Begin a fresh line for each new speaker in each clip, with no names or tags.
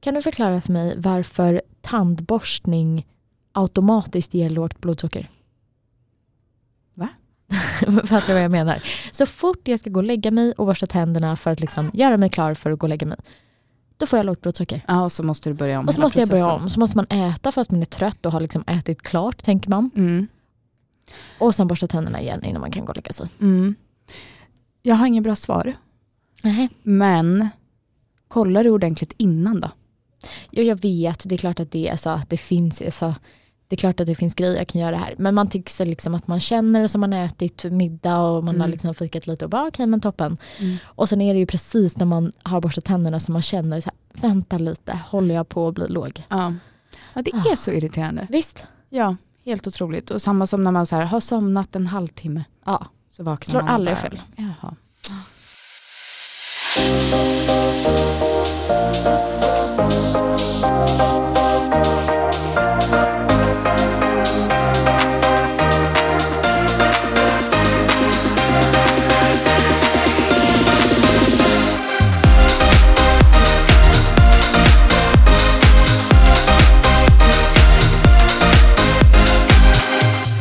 Kan du förklara för mig varför tandborstning automatiskt ger lågt blodsocker?
Va?
Fattar du vad jag menar? Så fort jag ska gå och lägga mig och borsta tänderna för att liksom göra mig klar för att gå och lägga mig, då får jag lågt blodsocker.
Mm, Ja, och så måste du börja om
Och så
hela
måste jag börja
processen.
om. Så måste man äta fast man är trött och har liksom ätit klart, tänker man.
Mm.
Och sen borsta tänderna igen innan man kan gå och lägga sig.
Mm. Jag har inget bra svar,
Nej.
men kollar du ordentligt innan då?
Jo, jag vet, det är klart att det, är så att det finns alltså, det är klart att det finns grejer jag kan göra här. Men man tycker så liksom att man känner det som man har ätit middag och man har
Mm.
liksom fikat lite och bara okej men toppen.
Mm.
Och sen är det ju precis när man har borstat tänderna som man känner så här, vänta lite, håller jag på att bli låg?
Ja. ja, det är så irriterande.
Visst,
Ja, helt otroligt. Och samma som när man så här, har somnat en halvtimme.
Ja.
Så vaknar
slår
man och
aldrig
bara,
fel.
Jaha.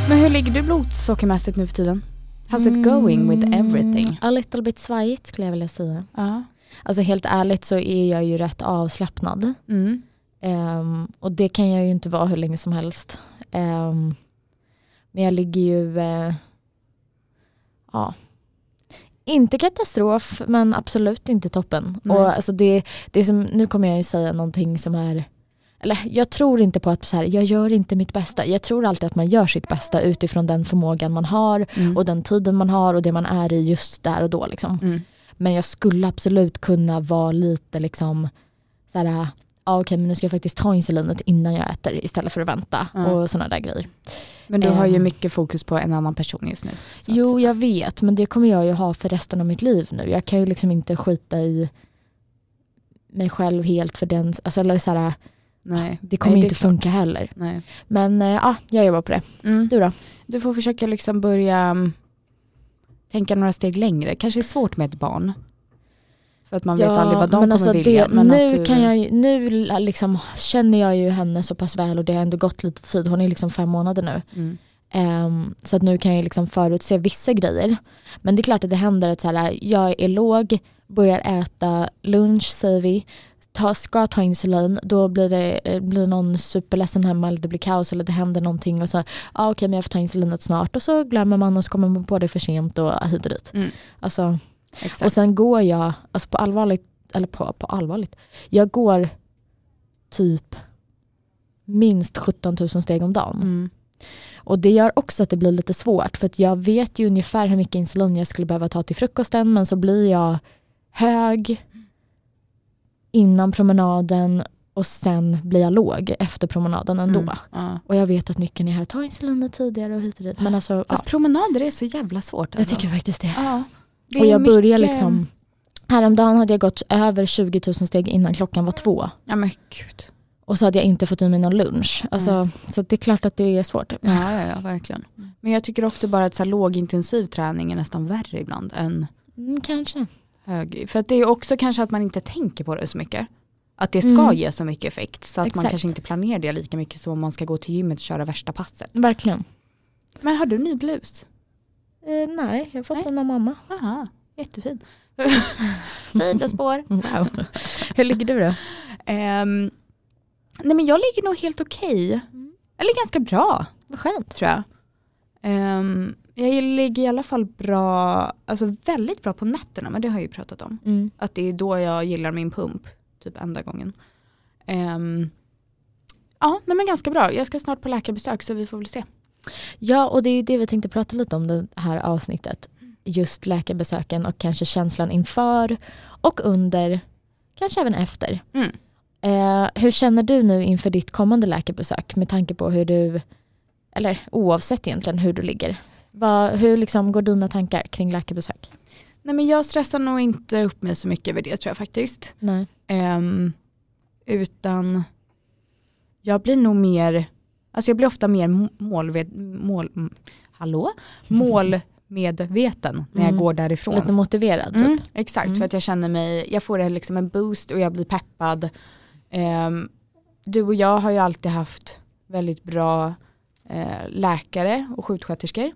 Men hur ligger du blodsockermässigt nu för tiden? How's it going with everything?
Mm. A little bit svajigt skulle jag vilja säga.
Mm. Ja.
Alltså helt ärligt så är jag ju rätt avslappnad.
Mm.
Ehm, och det kan jag ju inte vara hur länge som helst. Ehm, men jag ligger ju, eh, ja, inte katastrof men absolut inte toppen.
Nej.
Och alltså det, det som, nu kommer jag ju säga någonting som är, eller jag tror inte på att så här, jag gör inte mitt bästa. Jag tror alltid att man gör sitt bästa utifrån den förmågan man har
Mm.
och den tiden man har och det man är i just där och då. Liksom.
Mm.
Men jag skulle absolut kunna vara lite liksom så här, ja okej men nu ska jag faktiskt ta insulinet innan jag äter istället för att vänta
Mm.
och sådana där grejer.
Men du har ju
Ehm.
mycket fokus på en annan person just nu. så att
Jo
säga.
jag vet men det kommer jag ju ha för resten av mitt liv nu. Jag kan ju liksom inte skita i mig själv helt för den, alltså, eller så här,
Nej.
det kommer
Nej,
ju
är
inte
klart.
funka heller.
Nej.
Men eh, ja, jag jobbar på det.
Mm.
Du då?
Du får försöka liksom börja mm, tänka några steg längre. Kanske är svårt med ett barn. För att man vet aldrig vad de kommer vilja.
alltså, det,
men alltså
nu,
att du,
kan jag, ju- nu liksom, känner jag ju henne så pass väl och det har ändå gått lite tid, hon är liksom fem månader nu.
Mm.
Ehm, så att nu kan jag liksom förutse vissa grejer. Men det är klart att det händer att så här, jag är låg, börjar äta lunch säger vi, ta, ska ta insulin, då blir det eh, blir någon superledsen hemma eller det blir kaos eller det händer någonting och så ja ah, okej men jag får ta insulinet snart och så glömmer man och så kommer man på det för sent och hit och dit.
Mm.
Alltså,
Exakt.
och sen går jag, alltså på allvarligt, eller på, på allvarligt, jag går typ minst 17 000 steg om dagen.
mm.
Och det gör också att det blir lite svårt för att jag vet ju ungefär hur mycket insulin jag skulle behöva ta till frukosten men så blir jag hög innan promenaden och sen blir jag låg efter promenaden ändå.
Mm. Ja.
Och jag vet att nyckeln är här, ta insulinet tidigare och hit och dit. Men alltså, ja,
Fast promenader är så jävla svårt.
jag tycker faktiskt det.
ja. Det
Och
är
jag börjar
mycket-
liksom, häromdagen hade jag gått över 20 000 steg innan klockan var två.
Ja men gud.
Och så hade jag inte fått i mig någon lunch. Alltså,
Mm.
Så det är klart att det är svårt.
Ja, ja, ja verkligen. Men jag tycker också bara att så här, lågintensiv träning är nästan värre ibland än
Mm, kanske.
hög. För att det är också kanske att man inte tänker på det så mycket. Att det ska
Mm.
ge så mycket effekt. Så att man
Exakt.
kanske inte planerar det lika mycket som om man ska gå till gymmet och köra värsta passet.
Verkligen.
Men har du ny blus?
Eh, nej, jag har fått
Nej.
den av mamma.
Aha, jättefin. Sidospår.
Wow. Hur ligger du då?
Ehm, nej men jag ligger nog helt okej.
Mm.
Eller ganska bra
Vad skönt.
tror jag. Ehm, jag ligger i alla fall bra, alltså väldigt bra på nätterna men det har jag ju pratat om.
Mm.
Att det är då jag gillar min pump, typ enda gången. Ehm, ja, nej men ganska bra. Jag ska snart på läkarbesök så vi får väl se.
Ja, och det är ju det vi tänkte prata lite om det här avsnittet. Just läkarbesöken och kanske känslan inför och under, kanske även efter.
Mm.
Eh, hur känner du nu inför ditt kommande läkarbesök med tanke på hur du, eller oavsett egentligen hur du ligger? Vad, hur liksom går dina tankar kring läkarbesök?
Nej men jag stressar nog inte upp mig så mycket över det tror jag faktiskt.
Nej.
Ehm, utan jag blir nog mer, alltså jag blir ofta mer må- målved, mål, mm, hallå? målmedveten när
Mm.
jag går därifrån.
Lite motiverad typ.
Mm, exakt,
Mm.
för att jag känner mig, jag får liksom en boost och jag blir peppad. Ehm, du och jag har ju alltid haft väldigt bra eh, läkare och sjuksköterskor.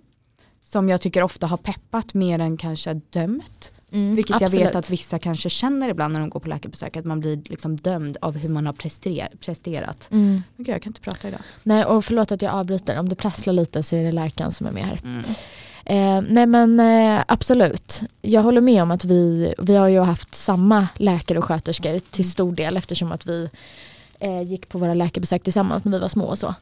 Som jag tycker ofta har peppat mer än kanske dömt.
Mm,
Vilket jag
absolut.
vet att vissa kanske känner ibland när de går på läkarbesök. Att man blir liksom dömd av hur man har prester- presterat.
Mm.
Men gud, jag kan inte prata idag.
Nej, och förlåt att jag avbryter. Om det prasslar lite så är det läkaren som är med här.
Mm,
Eh, nej men eh, absolut. Jag håller med om att vi, vi har ju haft samma läkare och sköterskor till stor del eftersom att vi eh, gick på våra läkarbesök tillsammans när vi var små och så.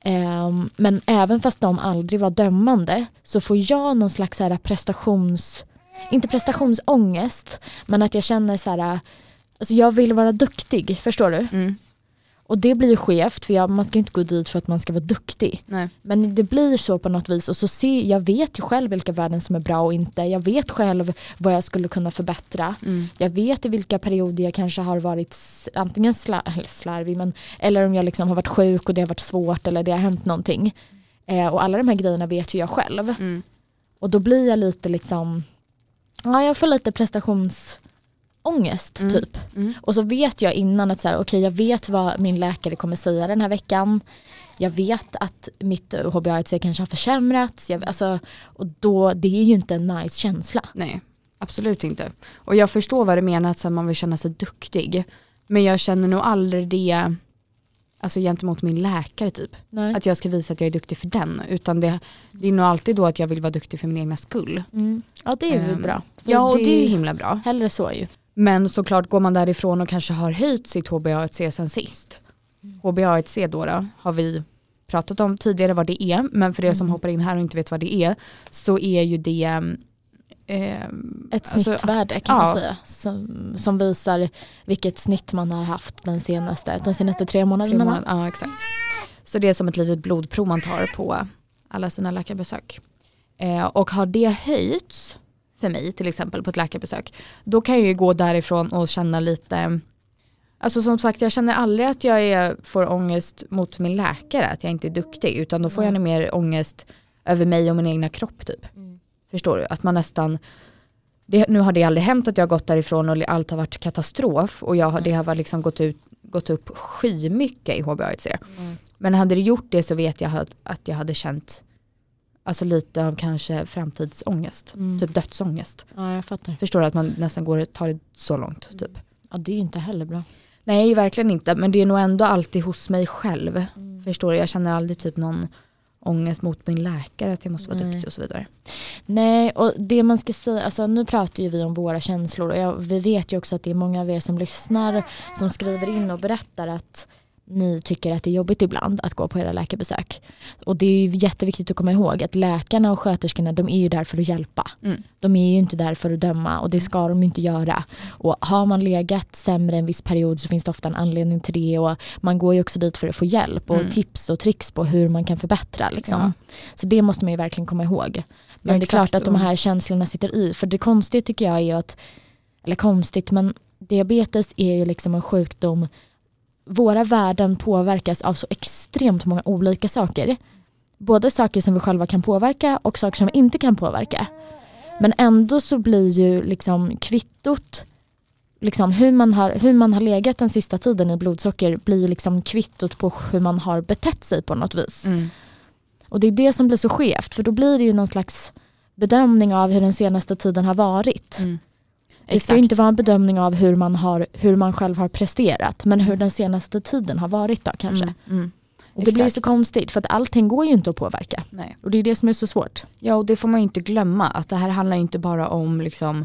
Eh, men även fast de aldrig var dömande så får jag någon slags så här, prestations, inte prestationsångest, men att jag känner så här, alltså jag vill vara duktig, förstår du?
Mm.
Och det blir ju skevt för jag, man ska inte gå dit för att man ska vara duktig.
Nej.
Men det blir så på något vis och så ser, jag vet ju själv vilka värden som är bra och inte. Jag vet själv vad jag skulle kunna förbättra.
Mm.
Jag vet i vilka perioder jag kanske har varit s- antingen sla, eller slarvig men, eller om jag liksom har varit sjuk och det har varit svårt eller det har hänt någonting. Eh, och alla de här grejerna vet ju jag själv.
Mm.
Och då blir jag lite liksom, ja jag får lite prestationsångest
Mm.
typ.
Mm.
Och så vet jag innan att så här, okej, jag vet vad min läkare kommer säga den här veckan. Jag vet att mitt HBA1C kanske har försämrats. Jag, alltså, och då, det är ju inte en nice känsla.
Nej, absolut inte. Och jag förstår vad du menar att så här, man vill känna sig duktig. Men jag känner nog aldrig det alltså gentemot min läkare typ.
Nej.
Att jag ska visa att jag är duktig för den. Utan det, det är nog alltid då att jag vill vara duktig för min egna skull.
Mm. Ja, det är ju
Ehm,
bra. För
Ja och det är ju himla bra.
Hellre så ju.
Men såklart går man därifrån och kanske har höjt sitt HBA1C sen sist. Mm. HBA1C då, då har vi pratat om tidigare vad det är. Men för er som
Mm.
hoppar in här och inte vet vad det är så är ju det ehm,
Ett
Alltså,
snittvärde kan man
ja.
säga. Som, som visar vilket snitt man har haft den senaste, de senaste tre månaderna.
Tre
va?
månader, ja exakt. Så det är som ett litet blodprov man tar på alla sina läkarbesök. Eh, och har det höjts för mig till exempel på ett läkarbesök, då kan jag ju gå därifrån och känna lite, alltså som sagt jag känner aldrig att jag är, får ångest mot min läkare, att jag inte är duktig, utan då får jag nog mer ångest över mig och min egna kropp typ.
Mm.
Förstår du? Att man nästan, det, nu har det aldrig hänt att jag har gått därifrån och allt har varit katastrof och jag har, det har varit liksom gått, ut, gått upp skymycket i HBA1C.
Mm.
Men hade det gjort det så vet jag att, att jag hade känt alltså lite av kanske framtidsångest,
Mm.
typ dödsångest.
Ja, jag fattar.
Förstår du att man nästan går och tar det så långt typ.
Ja, det är ju inte heller bra.
Nej verkligen inte men det är nog ändå alltid hos mig själv. Förstår du? Jag känner aldrig typ någon ångest mot min läkare att jag måste vara
Nej.
duktig och så vidare.
Nej, och det man ska säga, alltså nu pratar ju vi om våra känslor och jag, vi vet ju också att det är många av er som lyssnar som skriver in och berättar att ni tycker att det är jobbigt ibland att gå på era läkarbesök. Och det är ju jätteviktigt att komma ihåg att läkarna och sköterskorna de är ju där för att hjälpa.
Mm.
De är ju inte där för att döma och det ska de ju inte göra. Och har man legat sämre en viss period så finns det ofta en anledning till det och man går ju också dit för att få hjälp och
Mm.
tips och tricks på hur man kan förbättra. Liksom.
Ja.
Så det måste man ju verkligen komma ihåg. Men
Ja,
det är klart
exakt.
att de här känslorna sitter i. För det konstiga tycker jag är ju att, eller konstigt men diabetes är ju liksom en sjukdom. Våra värden påverkas av så extremt många olika saker. Både saker som vi själva kan påverka och saker som vi inte kan påverka. Men ändå så blir ju liksom kvittot liksom hur, man har, hur man har legat den sista tiden i blodsocker blir ju liksom kvittot på hur man har betett sig på något vis.
Mm.
Och det är det som blir så skevt för då blir det ju någon slags bedömning av hur den senaste tiden har varit.
Mm.
Det ska ju inte vara en bedömning av hur man, har, hur man själv har presterat men hur den senaste tiden har varit då kanske.
Mm. Mm.
Och det blir ju så
Exakt.
konstigt för att allting går ju inte att påverka.
Nej.
Och det är det som är så svårt.
Ja och det får man ju inte glömma att det här handlar ju inte bara om liksom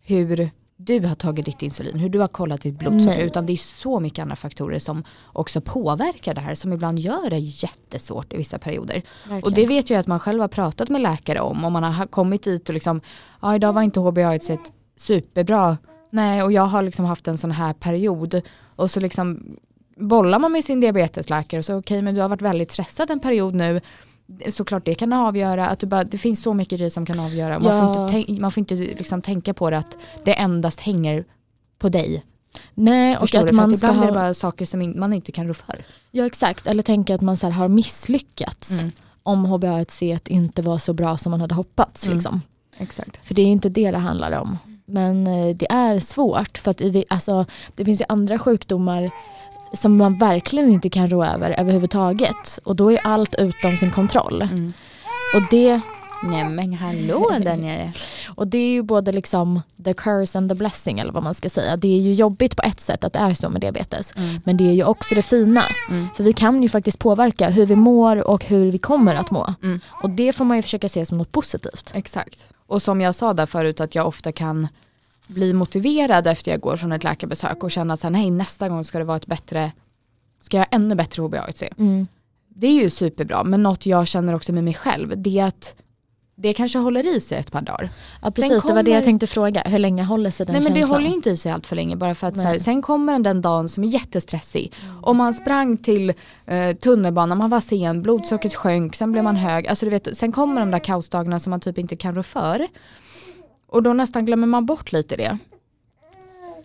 hur du har tagit ditt insulin, hur du har kollat ditt blodsocker
Nej.
utan det är så mycket andra faktorer som också påverkar det här som ibland gör det jättesvårt i vissa perioder. Och det vet jag ju att man själv har pratat med läkare om och man har kommit dit och liksom, ja idag var inte HBA1 ett superbra, nej och jag har liksom haft en sån här period och så liksom bollar man med sin diabetesläkare och så okej men du har varit väldigt stressad en period nu såklart det kan avgöra att du bara, det finns så mycket grejer som kan avgöra man
Ja.
får inte, tänk, man får inte liksom tänka på det att det endast hänger på dig.
Nej, och
Förstår
att
du? För att
man ska
ibland är det
ha,
bara saker som in, man inte kan rå för.
ja exakt, eller tänka att man så här har misslyckats
Mm.
om HBA1C inte var så bra som man hade hoppats.
Mm.
Liksom.
Exakt.
För det är inte det det handlar om. Men eh, det är svårt för att i- alltså, det finns ju andra sjukdomar som man verkligen inte kan rå över överhuvudtaget. Och då är allt utom sin kontroll.
Mm.
Och det,
Nej men hallå där nere.
och det är ju både liksom the curse and the blessing eller vad man ska säga. Det är ju jobbigt på ett sätt att det är så med diabetes.
Mm.
Men det är ju också det fina.
Mm.
För vi kan ju faktiskt påverka hur vi mår och hur vi kommer att må.
Mm.
Och det får man ju försöka se som något positivt.
Exakt. Och som jag sa där förut att jag ofta kan bli motiverad efter jag går från ett läkarbesök och känna att nej nästa gång ska det vara ett bättre, ska jag ha ännu bättre HbA1c.
Mm.
Det är ju superbra men något jag känner också med mig själv det är att det kanske håller i sig ett par dagar.
Ja precis, det var det
kommer-
jag tänkte fråga. Hur länge håller sig den
Nej men det
känslan?
håller ju inte i sig allt för länge bara för att så här,
Nej.
sen kommer den, den dagen som är jättestressig. Om man sprang till eh, tunnelbanan, man var sen, blodsockret sjönk, sen blev man hög. Alltså du vet, sen kommer de där kaosdagarna som man typ inte kan rå för. Och då nästan glömmer man bort lite det.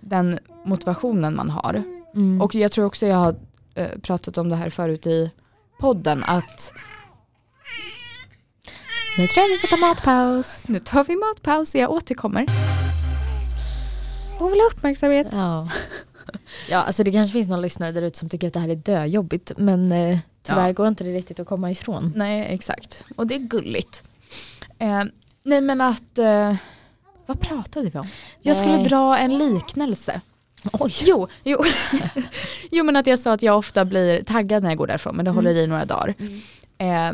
Den motivationen man har.
Mm.
Och jag tror också jag har eh, pratat om det här förut i podden att
Nu tror jag vi får ta matpaus.
nu tar vi matpaus och jag återkommer. Hon vill ha uppmärksamhet.
Ja. ja, alltså det kanske finns någon lyssnare där ute som tycker att det här är döjobbigt. Men eh, tyvärr
Ja.
går inte det riktigt att komma ifrån.
Nej, exakt. Och det är gulligt. Eh, nej, men att... Eh, vad pratade vi om? Jag skulle
Nej.
dra en liknelse.
Oj.
Jo, jo. jo, men att jag sa att jag ofta blir taggad när jag går därifrån, men det håller i några dagar. Eh,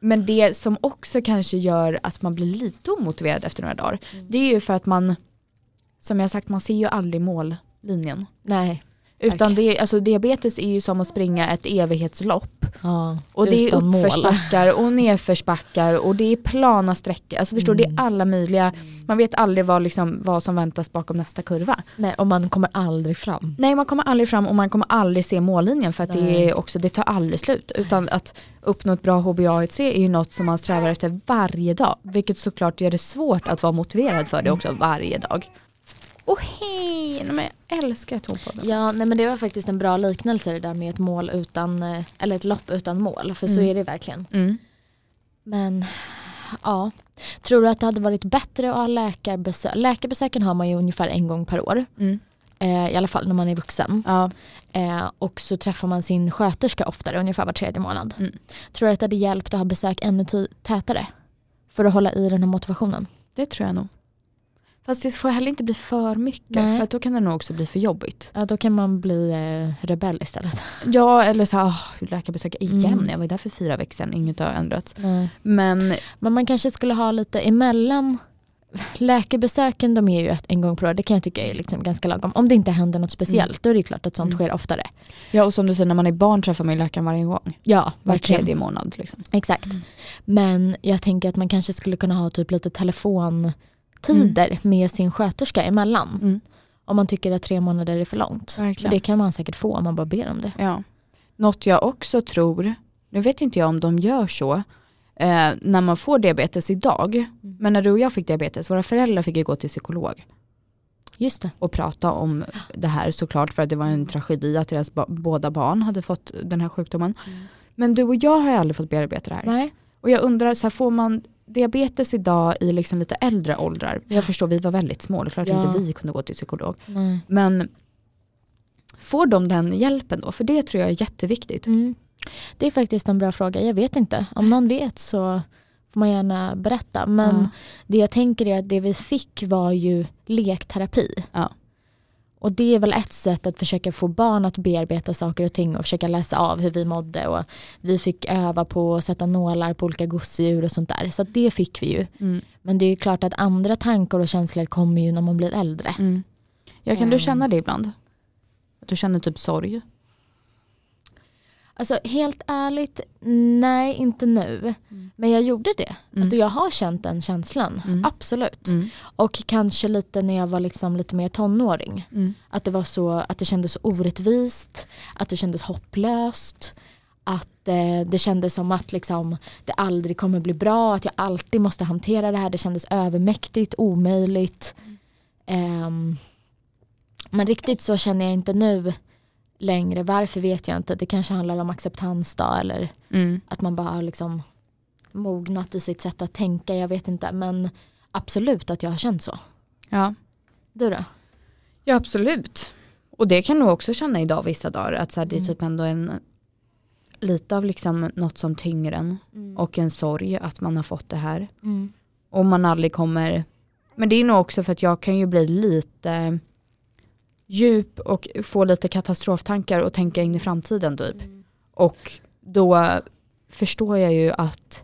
men det som också kanske gör att man blir lite omotiverad efter några dagar, det är ju för att man, som jag sagt, man ser ju aldrig mållinjen.
Nej.
Utan det, alltså, diabetes är ju som att springa ett evighetslopp.
Ja,
Och det är
utan mål.
uppförsbackar och nedförsbackar och det är plana sträckor. Alltså förstår du,
Mm.
det är alla möjliga, man vet aldrig vad, liksom, vad som väntas bakom nästa kurva.
Nej, och man kommer aldrig fram.
Nej man kommer aldrig fram och man kommer aldrig se mållinjen för att det,
Nej.
är också, det tar aldrig slut. Utan att uppnå ett bra HbA1c är ju något som man strävar efter varje dag. Vilket såklart gör det svårt att vara motiverad för det
Mm.
också varje dag. Och hej, nej, men jag älskar att hon poddar.
Ja, nej men det var faktiskt en bra liknelse det där med ett mål utan, eh, eller ett lopp utan mål, för så
Mm.
är det verkligen.
Mm.
Men ja, tror du att det hade varit bättre att ha läkarbesök? Läkarbesöken har man ju ungefär en gång per år,
Mm.
eh, i alla fall när man är vuxen.
Ja.
Eh, och så träffar man sin sköterska oftare, ungefär var tredje månad.
Mm.
Tror du att det hade hjälpt att ha besök ännu ty- tätare? För att hålla i den här motivationen?
Det tror jag nog. Fast det får heller inte bli för mycket
Nej.
för att då kan det nog också bli för jobbigt.
Ja, då kan man bli eh, rebell istället.
Ja eller så här, oh, läkarbesök igen,
Mm.
jag var ju där för fyra veckor sedan, inget har ändrats. Men
Men man kanske skulle ha lite emellan läkarbesöken, de är ju ett, en gång per år, det kan jag tycka är liksom ganska lagom. Om det inte händer något speciellt, då är det ju klart att sånt
Mm.
sker oftare.
ja och som du säger när man är barn träffar man ju läkaren varje gång.
Ja,
Var
verkligen.
tredje månad liksom.
Exakt. Men jag tänker att man kanske skulle kunna ha typ lite telefontider med sin sköterska emellan.
Mm.
Om man tycker att tre månader är för långt.
Verkligen.
Men Det kan man säkert få om man bara ber om det.
Ja. Något jag också tror, nu vet inte jag om de gör så, eh, när man får diabetes idag, men när du och jag fick diabetes, våra föräldrar fick ju gå till psykolog
Just det.
och prata om det här såklart för att det var
Mm.
en tragedi att deras ba- båda barn hade fått den här sjukdomen. Men du och jag har ju aldrig fått bearbeta det här.
Mm. Nej.
Och jag undrar, så här, får man diabetes idag i liksom lite äldre åldrar? Jag förstår, vi var väldigt små, det är klart
Ja.
inte vi kunde gå till psykolog.
Nej.
Men får de den hjälpen då? För det tror jag är jätteviktigt.
Mm. Det är faktiskt en bra fråga. Jag vet inte. Om någon vet så får man gärna berätta. Men
Ja.
det jag tänker är att det vi fick var ju lekterapi.
Ja.
Och det är väl ett sätt att försöka få barn att bearbeta saker och ting och försöka läsa av hur vi mådde. Och vi fick öva på att sätta nålar på olika gosedjur och sånt där. Så att det fick vi ju.
Mm.
Men det är ju klart att andra tankar och känslor kommer ju när man blir äldre.
Mm. Ja, kan du
Ehm.
känna det ibland? Att du känner typ sorg?
Alltså helt ärligt, nej inte nu.
Mm.
Men jag gjorde det.
Mm.
Alltså jag har känt den känslan,
Mm.
absolut.
Mm.
Och kanske lite när jag var liksom lite mer tonåring.
Mm.
Att det var så, att det kändes så orättvist, att det kändes hopplöst. Att eh, det kändes som att liksom, det aldrig kommer bli bra, att jag alltid måste hantera det här. Det kändes övermäktigt, omöjligt. Ehm, men riktigt så känner jag inte nu längre. Varför vet jag inte. Det kanske handlar om acceptans då, eller
Mm.
att man bara har liksom mognat i sitt sätt att tänka. Jag vet inte. Men absolut att jag har känt så.
Ja.
Du då?
ja, absolut. Och det kan nog också känna idag vissa dagar att så här, det är typ ändå en lite av liksom något som tynger en och en sorg att man har fått det här.
Mm.
Och man aldrig kommer, men det är nog också för att jag kan ju bli lite djup och få lite katastroftankar och tänka in i framtiden typ. Och då förstår jag ju att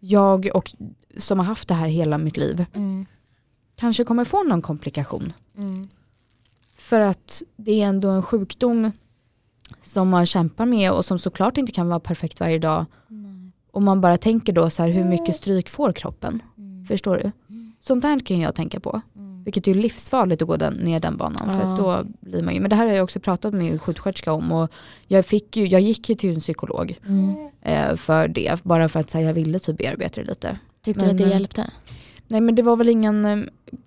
jag och som har haft det här hela mitt liv
Mm.
kanske kommer få någon komplikation.
Mm.
För att det är ändå en sjukdom som man kämpar med och som såklart inte kan vara perfekt varje dag.
Nej.
Och man bara tänker då så här hur mycket stryk får kroppen?
Mm.
Förstår du? Sånt där kan jag tänka på.
Mm.
Vilket är ju livsfarligt att gå den, ner den banan. För
Ja.
att då blir man ju, men det här har jag också pratat med en sjuksköterska om. Och jag, fick ju, jag gick ju till en psykolog
Mm.
eh, för det. Bara för att säga jag ville typ bearbeta det lite.
Tyckte
Men,
du att
eh,
det hjälpte?
Nej men det var väl ingen eh,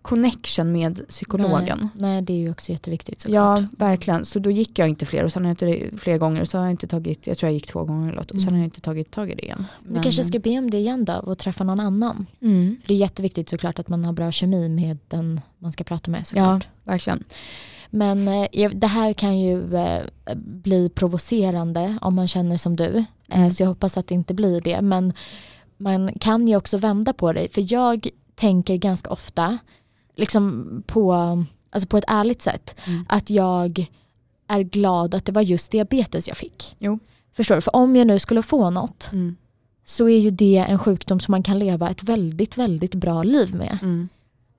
connection med psykologen.
Nej. Nej, det är ju också jätteviktigt
ja,
såklart.
verkligen. Så då gick jag inte fler och sen har jag inte fler gånger. Så har jag inte tagit, jag tror jag gick två gånger eller något. Och sen
Mm.
har jag inte tagit tag i det igen.
Du kanske ska be om det igen då och träffa någon annan.
Mm.
För det är jätteviktigt såklart att man har bra kemi med den man ska prata med såklart.
Ja, verkligen.
Men eh, jag- det här kan ju eh, bli provocerande om man känner som du. Eh,
Mm.
Så jag hoppas att det inte blir det. Men man kan ju också vända på det. För jag tänker ganska ofta liksom på, alltså på ett ärligt sätt
Mm.
att jag är glad att det var just diabetes jag fick.
Jo.
Förstår du? För om jag nu skulle få något
Mm.
så är ju det en sjukdom som man kan leva ett väldigt, väldigt bra liv med.
Mm.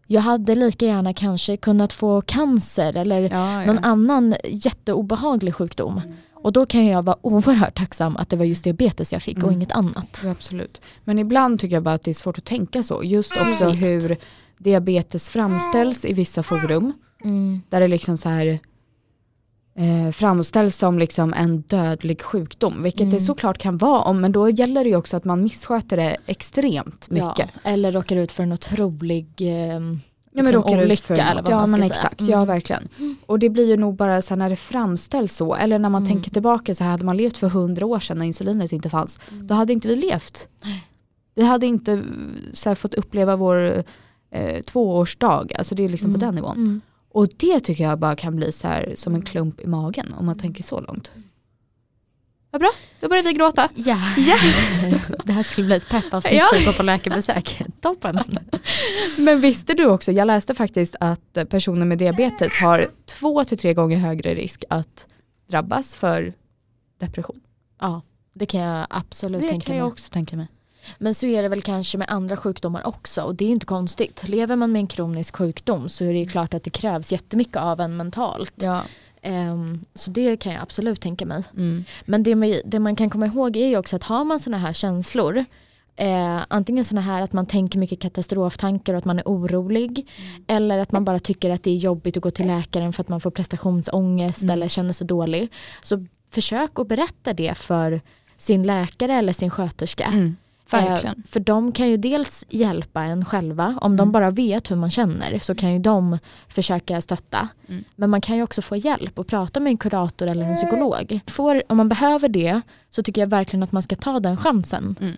Jag hade lika gärna kanske kunnat få cancer eller
Ja, ja.
någon annan jätteobehaglig sjukdom. Och då kan jag vara oerhört tacksam att det var just diabetes jag fick och
Mm.
inget annat.
Ja, absolut. Men ibland tycker jag bara att det är svårt att tänka så. Just också hur diabetes framställs i vissa forum.
Mm.
Där det liksom så här eh, framställs som liksom en dödlig sjukdom. Vilket det
Mm.
såklart kan vara. om- Men då gäller det ju också att man missköter det extremt mycket.
Ja, eller råkar ut för en otrolig... ehm,
Ja, men
liksom
råkar ut för
olycka
något.
eller vad
ja,
man ska
men
säga.
exakt.
Mm.
Ja, verkligen. Och det blir ju nog bara så här när det framställs så, eller när man
Mm.
tänker tillbaka så här, hade man levt för hundra år sedan när insulinet inte fanns,
Mm.
då hade inte vi levt. Vi hade inte mm, så här, fått uppleva vår eh, tvåårsdag, alltså det är liksom på den nivån.
Mm.
Och det tycker jag bara kan bli så här som en klump i magen om man tänker så långt. Vad bra, då börjar vi gråta.
Ja. det här skulle bli ett peppavsnitt
Ja.
för att gå på läkarbesök. Toppen.
Men visste du också, jag läste faktiskt att personer med diabetes har två till tre gånger högre risk att drabbas för depression.
Ja, det kan jag absolut tänka mig.
också tänka mig.
Men så är det väl kanske med andra sjukdomar också och det är ju inte konstigt. Lever man med en kronisk sjukdom så är det ju klart att det krävs jättemycket av en mentalt.
Ja.
Ehm, så det kan jag absolut tänka mig.
Mm.
Men det, med, det man kan komma ihåg är ju också att har man sådana här känslor Eh, antingen sådana här att man tänker mycket katastroftankar och att man är orolig eller att man bara tycker att det är jobbigt att gå till läkaren för att man får prestationsångest eller känner sig dålig. Så försök att berätta det för sin läkare eller sin sköterska.
Mm.
Eh, för de kan ju dels hjälpa en själva, om
Mm.
de bara vet hur man känner så kan ju de försöka stötta.
Mm.
Men man kan ju också få hjälp och prata med en kurator eller en psykolog. Får, om man behöver det så tycker jag verkligen att man ska ta den chansen.
Mm,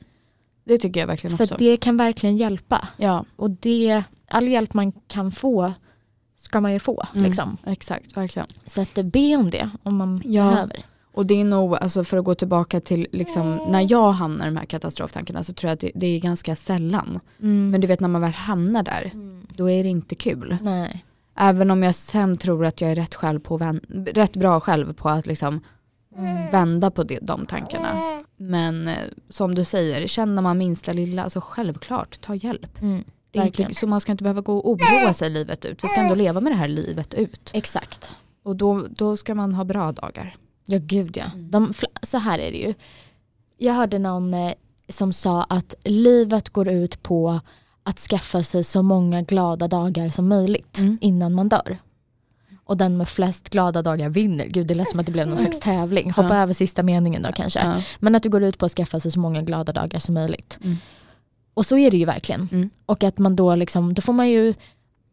Det tycker jag verkligen
För
också.
det kan verkligen hjälpa.
ja,
Och det, all hjälp man kan få ska man ju få.
Mm.
Liksom.
exakt, verkligen.
Så att eh, be om det om man
Ja.
behöver.
Och det är nog, alltså för att gå tillbaka till liksom, när jag hamnar i de här katastroftankarna så tror jag att det, det är ganska sällan.
Mm.
Men du vet när man väl hamnar där,
Mm.
då är det inte kul.
Nej.
Även om jag sen tror att jag är rätt, själv på vän- rätt bra själv på att liksom vända på det, de tankarna. Men eh, som du säger, känner man minsta lilla, alltså självklart, ta hjälp.
Mm.
Det är
Verkligen.
inte, så man ska inte behöva gå och oroa sig livet ut. Vi ska ändå leva med det här livet ut.
Exakt.
Och då, då ska man ha bra dagar.
Ja gud ja.
Mm.
De, fl- så här är det ju. Jag hörde någon eh, som sa att livet går ut på att skaffa sig så många glada dagar som möjligt
Mm.
innan man dör. Och den med flest glada dagar vinner. Gud det lät som att det blev någon slags tävling. Hoppa
Mm. Ja.
över sista meningen då kanske.
Ja.
Men att det går ut på att skaffa sig så många glada dagar som möjligt.
Mm.
Och så är det ju verkligen.
Mm.
Och att man då liksom, då får man ju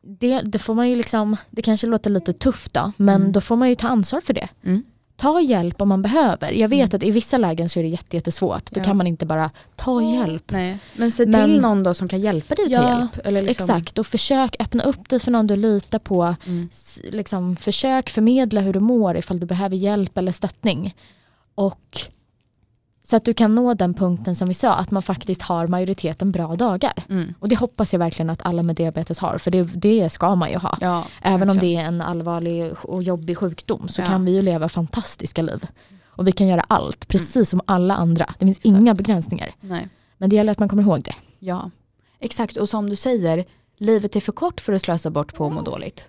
det, då får man ju liksom, det kanske låter lite tufft då, men
Mm.
då får man ju ta ansvar för det.
Mm.
ta hjälp om man behöver. Jag vet att i vissa lägen så är det jätte, jättesvårt. Då
Ja.
kan man inte bara ta hjälp.
Nej. Men se
Men-
till någon då som kan hjälpa dig att ta
Ja,
hjälp. Eller liksom,
exakt. Och försök öppna upp dig för någon du litar på.
Mm.
S- Liksom, försök förmedla hur du mår ifall du behöver hjälp eller stöttning. Och så att du kan nå den punkten som vi sa, att man faktiskt har majoriteten bra dagar.
Mm.
Och det hoppas jag verkligen att alla med diabetes har, för det, det ska man ju ha.
Ja,
Även om
verkligen.
det är en allvarlig och jobbig sjukdom så
Ja.
kan vi ju leva fantastiska liv. Och vi kan göra allt, precis som alla andra. Det finns inga begränsningar.
Nej.
Men det gäller att man kommer ihåg det.
Ja, exakt. Och som du säger, livet är för kort för att slösa bort på att må dåligt.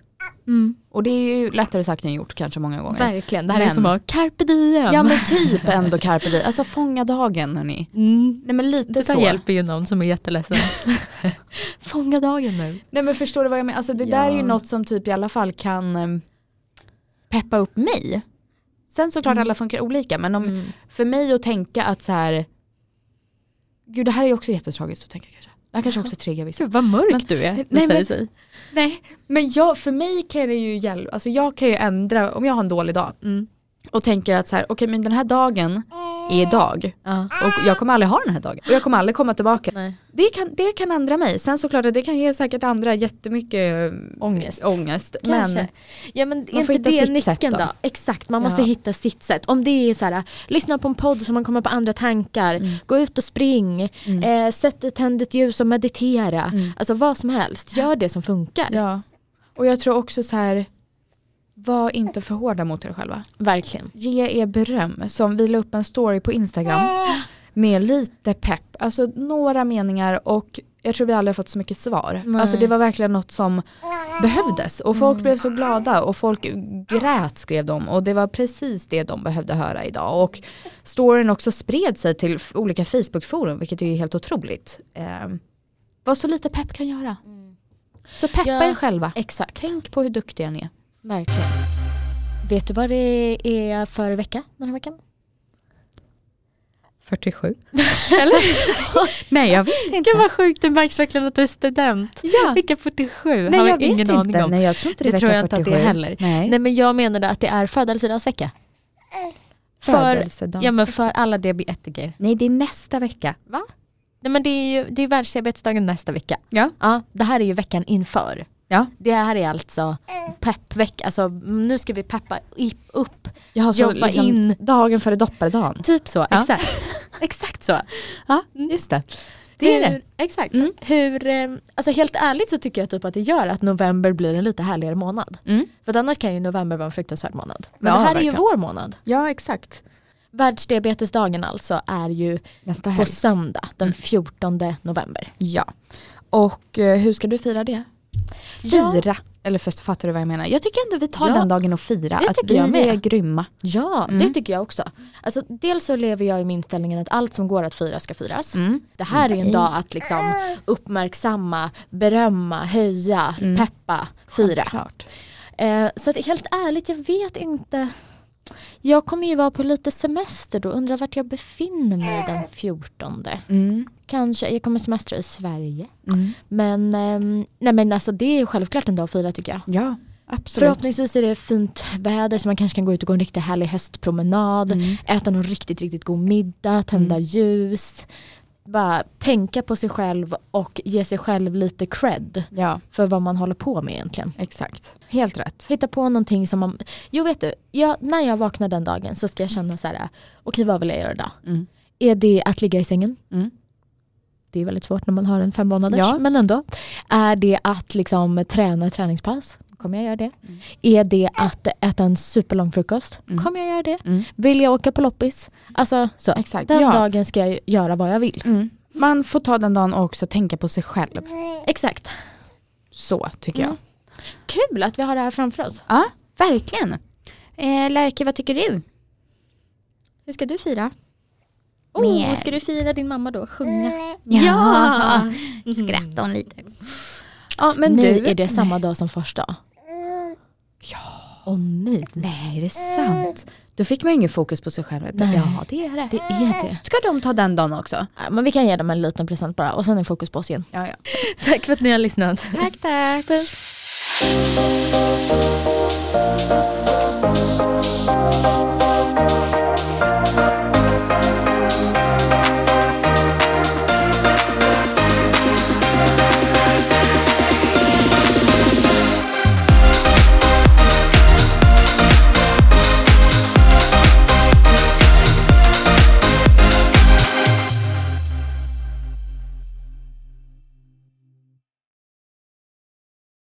Och det är ju lättare sagt än gjort kanske många gånger.
Mm. Verkligen, det här är
Men-
som att carpe diem.
Ja men typ ändå carpe diem, alltså fånga dagen hörni.
Mm.
Nej men lite
Det tar
så.
hjälp ju någon som är jätteledsen. Fånga dagen nu.
Nej men förstår du vad jag menar, alltså det
Ja.
där är ju något som typ i alla fall kan em, peppa upp mig. Sen såklart alla funkar olika men om,
Mm.
för mig att tänka att så här, gud det här är ju också jättetragiskt att tänka kanske. Det här kanske också triggar vissa.
Gud vad mörk du är,
nej,
visar det
men-
sig.
Nej men jag, för mig kan det ju hjälpa, alltså jag kan ju ändra om jag har en dålig dag
Mm.
och tänker att så här, okej men den här dagen är idag
Ja.
och jag kommer aldrig ha den här dagen och jag kommer aldrig komma tillbaka.
Nej.
Det kan, det kan ändra mig. Sen såklart att det kan ge säkert andra jättemycket mm,
Ångest.
ångest.
Kanske.
Men
Ja men är
Man får
inte
hitta
det
sitt sätt
nyckeln
då.
då? Exakt, man måste
Ja.
hitta sitt sätt. Om det är så här, lyssna på en podd så man kommer på andra tankar,
Mm.
gå ut och spring, eh, sätt ett tänd ett ljus och meditera. Alltså vad som helst, gör det som funkar.
Mm. ja. Och jag tror också så här, var inte för hårda mot er själva.
Verkligen.
Ge er beröm. Som vi la upp en story på Instagram med lite pepp. Alltså några meningar och jag tror vi aldrig har fått så mycket svar.
Nej. Mm.
Alltså det var verkligen något som behövdes och folk blev så glada och folk grät skrev de och det var precis det de behövde höra idag. Och storyn också spred sig till f- olika Facebookforum vilket är ju helt otroligt. Eh, vad så lite pepp kan göra. Så peppa
Mm. Ja.
er själva.
Exakt.
Tänk på hur duktiga ni är.
Verkligen. Vet du vad det är för vecka den här veckan?
47. Nej jag vet inte.
vad sjukt, det märks verkligen att du är student.
Ja.
Vecka 47
Nej jag vet inte. Nej jag tror inte det, är
Det tror
vecka
jag inte att det är
47.
heller.
Nej.
Nej men jag menade att det är födelsedagsvecka. För,
Födelsedags-
ja, men för alla diabetiker.
Nej det är nästa vecka. Va?
Nej men det är ju det är världsdiabetesdagen nästa vecka.
Ja.
Ja, det här är ju veckan inför.
Ja.
Det här är alltså peppvecka, alltså mm, nu ska vi peppa i- upp.
Jag har liksom
Jobba in.
dagen före dopparedagen.
Typ så,
Ja.
exakt. exakt så.
Ja just det.
Det
är det.
Exakt.
Mm.
Hur, eh, alltså helt ärligt så tycker jag typ att det gör att november blir en lite härligare månad.
Mm.
För att annars kan ju november vara en fruktansvärd månad. Men
Ja,
det här är ju
verkligen.
vår månad.
Ja exakt.
Världsdiabetesdagen alltså är ju
Nästa
på
helg. Mm.
söndag den 14 november.
Ja. Och eh, hur ska du fira det?
Ja.
Fira. Eller först fattar du vad jag menar? Jag tycker ändå vi tar
Ja.
den dagen och fira.
Det
att
tycker
vi
jag med.
är grymma.
Ja, det
Mm.
tycker jag också. Alltså, dels så lever jag i min inställningen att allt som går att fira ska firas.
Mm.
Det här är en
Nej.
dag att liksom uppmärksamma, berömma, höja,
Mm.
peppa, fira.
Klart.
Eh, så att helt ärligt, jag vet inte. Jag kommer ju vara på lite semester då, undrar vart jag befinner mig den 14.
Mm.
Kanske, jag kommer semestra i Sverige.
Mm.
Men, ehm, nej men alltså det är ju självklart en dag att fira tycker jag.
Ja absolut.
Förhoppningsvis är det fint väder så man kanske kan gå ut och gå en riktigt härlig höstpromenad.
Mm.
Äta någon riktigt, riktigt god middag, tända ljus. Bara tänka på sig själv och ge sig själv lite cred
Ja
för vad man håller på med egentligen.
exakt. Helt rätt.
Hitta på någonting som man... Jo vet du, jag, när jag vaknar den dagen så ska jag känna så här, okej vad vill jag göra idag?
Mm.
Är det att ligga i sängen?
Mm.
Det är väldigt svårt när man har en fem månaders,
Ja.
men ändå. Är det att liksom träna ett träningspass? Kommer jag göra det? Är det att äta en superlång frukost?
Mm.
Kommer jag göra det?
Mm.
Vill jag åka på loppis? Alltså så.
Exakt.
Den
ja.
dagen ska jag göra vad jag vill.
Mm. Man får ta den dagen och också tänka på sig själv.
Exakt.
Så tycker jag.
Mm. Kul att vi har det här framför oss.
Ja, verkligen. Eh, Lärke, vad tycker du?
Hur ska du fira?
Med-
Oh, ska du fira din mamma då? Sjunga?
Ja. Skratta hon lite. Ja, men
nej,
du.
är det samma dag som första? Ja. Åh nej.
Nej, är det sant? Då fick man ju ingen fokus på sig själv.
Nej.
Ja, det är det.
Det är det.
Ska de ta den dagen också?
Ja, Men vi kan ge dem en liten present bara och sen är fokus på oss igen.
Ja, ja.
Tack för att ni har lyssnat.
Tack, tack.